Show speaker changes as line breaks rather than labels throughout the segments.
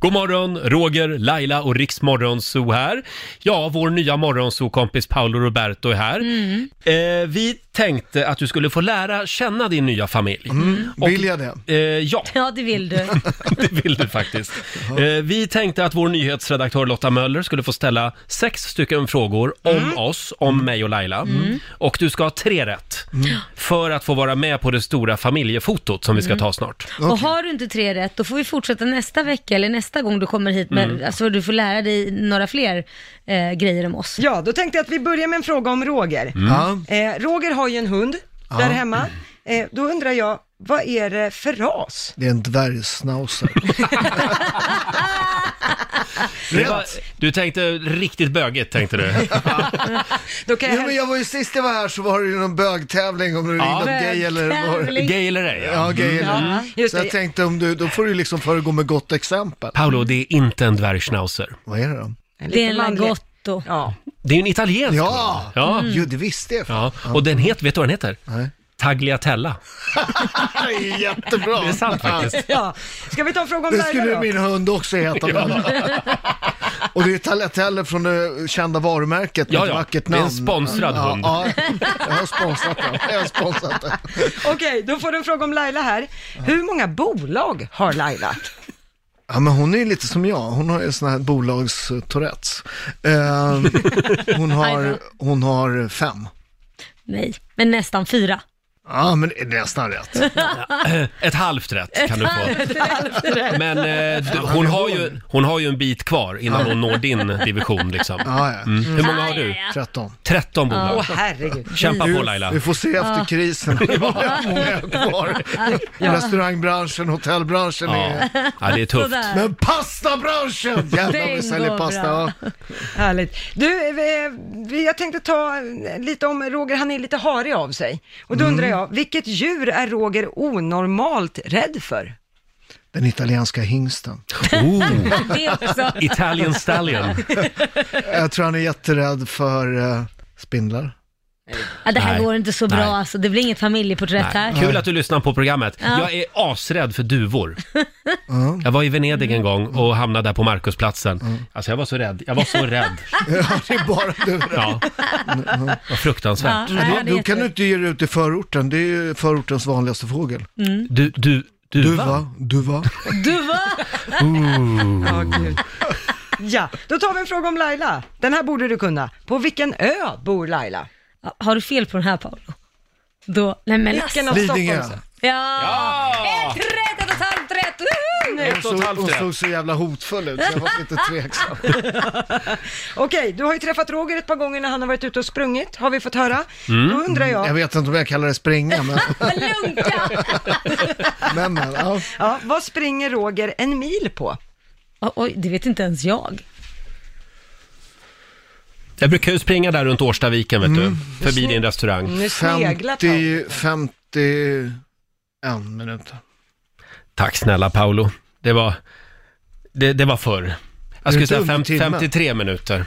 God morgon, Roger, Laila och Riksmorgonzoo här. Ja, vår nya morgonzoo-kompis Paolo Roberto är här. Eh, vi tänkte att du skulle få lära känna din nya familj. Och,
Mm. Vill jag det?
eh, ja,
Ja, det vill du.
det vill du faktiskt. Eh, vi tänkte att vår nyhetsredaktör Lotta Möller skulle få ställa sex stycken frågor om oss, om mig och Laila. Och du ska ha tre rätt för att få vara med på det stora familjefotot som vi ska ta snart.
Och har du inte tre rätt, då får vi fortsätta nästa vecka eller nästa gång du kommer hit med, alltså du får lära dig några fler eh, grejer om oss.
Ja, då tänkte jag att vi börjar med en fråga om Roger.
Mm.
Ja.
Eh, Roger har ju en hund
Mm. Ja.
där hemma. Eh, då undrar jag, vad är det för ras?
Det är en dvärgsnauser.
Det var, du tänkte riktigt bögigt, tänkte du.
Då kan jag
ja, men jag var ju sist jag var här så var det ju någon bögtävling om du är
Ja.
inom gay eller var...
Bögtävling.
Gay eller ej? ja.
Ja, gay eller...
just
Så
det.
jag tänkte om du, då får du liksom föregå med gott exempel.
Paolo, det är inte en dvärgschnauzer.
Vad är det då?
En
Det är
liten
en
manlig-
lagotto.
Ja,
Det är ju en italiensk.
Ja!
Ja.
Jo, det visste jag.
Mm. ja. Och den heter, vet du vad den heter?
Nej.
Tagliatella.
Det är jättebra.
Det är sant faktiskt.
ja. Ska vi ta en fråga om
Det
Laila
skulle
då?
min hund också heta. Och det är Tagliatelle från det kända varumärket med
Ja,
ett
ja.
vackert
Det är en
namn.
sponsrad
ja,
hund.
Ja, jag har sponsrat den. Jag har sponsrat den.
Okej, då får du en fråga om Laila här. Hur många bolag har Laila?
Ja, men hon är ju lite som jag. Hon har ju sån här bolags-tourettes. Eh, hon, har, hon har fem.
Nej, men nästan fyra.
Ja, men det är nästan rätt.
Ett halvt rätt kan du få. Men eh, du, hon, har ju, hon har ju en bit kvar innan hon når din division liksom.
Ja, ja.
Mm. Hur många har du?
Ja, ja,
13.
13
Åh
bolag.
herregud.
Kämpa på Laila.
Vi får se efter krisen hur många jag har kvar. Restaurangbranschen, hotellbranschen
Ja.
är...
ja, det är
ja.
tufft.
Sådär.
Men pastabranschen! Jävlar
Den
vi säljer
går
pasta.
bra.
Ja.
Härligt. Du, eh, vi- jag tänkte ta eh, lite om Roger, han är lite harig av sig. Och
Mm.
då undrar jag, vilket djur är Roger onormalt rädd för?
Den italienska hingsten.
Oh,
Det också.
Italian Stallion.
Jag tror han är jätterädd för eh, spindlar.
Ja, det här
Nej.
går inte så bra
Nej.
alltså. Det blir inget familjeporträtt här.
Kul att du lyssnar på programmet. Jag är asrädd för duvor. Jag var i Venedig en gång och hamnade där på Markusplatsen. Alltså jag var så rädd. Jag var så rädd.
Ja, det är bara du.
Ja. Vad
Ja,
fruktansvärt.
nej, han
Då
är
kan
jätte-
du inte ge dig ut i förorten. Det är ju förortens vanligaste fågel.
Du, du, duva?
Duva, duva.
Du va?
Ja, gud. Ja, då tar vi en fråga om Laila. Den här borde du kunna. På vilken ö bor Laila?
Ja, Har du fel på den här Paolo? Då, nej men alltså.
Vilken av
Lidingö.
Stockholms?
Ja!
Ja!
Ett rätt, ett och ett halvt rätt! Woho!
Hon
Ett och ett
såg, hon
halvt rätt.
såg så jävla hotfull ut så jag var lite tveksam.
Okej, du har ju träffat Roger ett par gånger när han har varit ute och sprungit, har vi fått höra. Då undrar
Jag
jag,
vet inte om jag kallar det springa, men...
Men Lunka!
men, men ja.
ja, vad springer Roger en mil på?
Oj, Oj, det vet inte ens jag.
Jag brukar ju springa där runt Årstaviken, vet du. Förbi din restaurang.
Nu sneglar Paolo.
50, 51 minuter.
Tack snälla Paolo. Det var, det, det var förr. Jag skulle
inte
säga
under
fem,
timmen.
53 minuter. Det-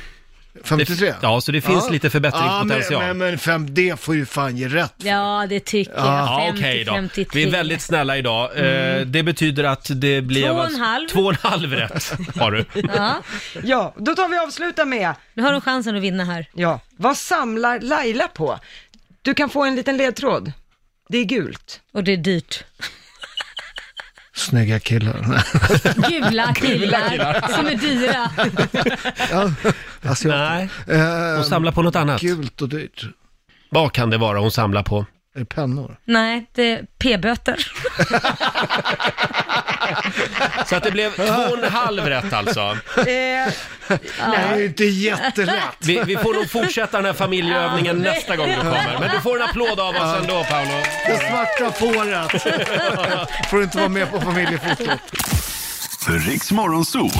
53?
Ja, så det finns lite
Ja,
förbättringspotential.
men, men, men fem, det får ju fan ge rätt.
Ja, det tycker
Ja,
jag. 50,
okej då.
53.
Vi är väldigt snälla idag. Eh, det betyder att det blev...
Mm.
alltså
Två och en halv.
Två och en halv rätt har du.
Ja,
Ja, då tar vi och avslutar med,
nu har de chansen att vinna här.
ja, vad samlar Laila på? Du kan få en liten ledtråd. Det är gult.
Och det är dyrt.
Snygga killar.
Gula killar som är dyra.
ja, alltså,
Nej,
eh,
hon samlar på något annat.
Gult och dyrt.
Vad kan det vara hon samlar på?
Är det pennor?
Nej, det är p-böter.
Så att det blev två och en halv rätt alltså.
Eh,
Det är ju inte jättelätt.
Vi, vi får nog fortsätta den här familjeövningen nästa gång du kommer. Men du får en applåd av oss ändå, Paolo.
Det svarta fåret. får inte vara med på familjefotot.
Riks Morgonzoo.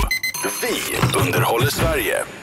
Vi underhåller Sverige.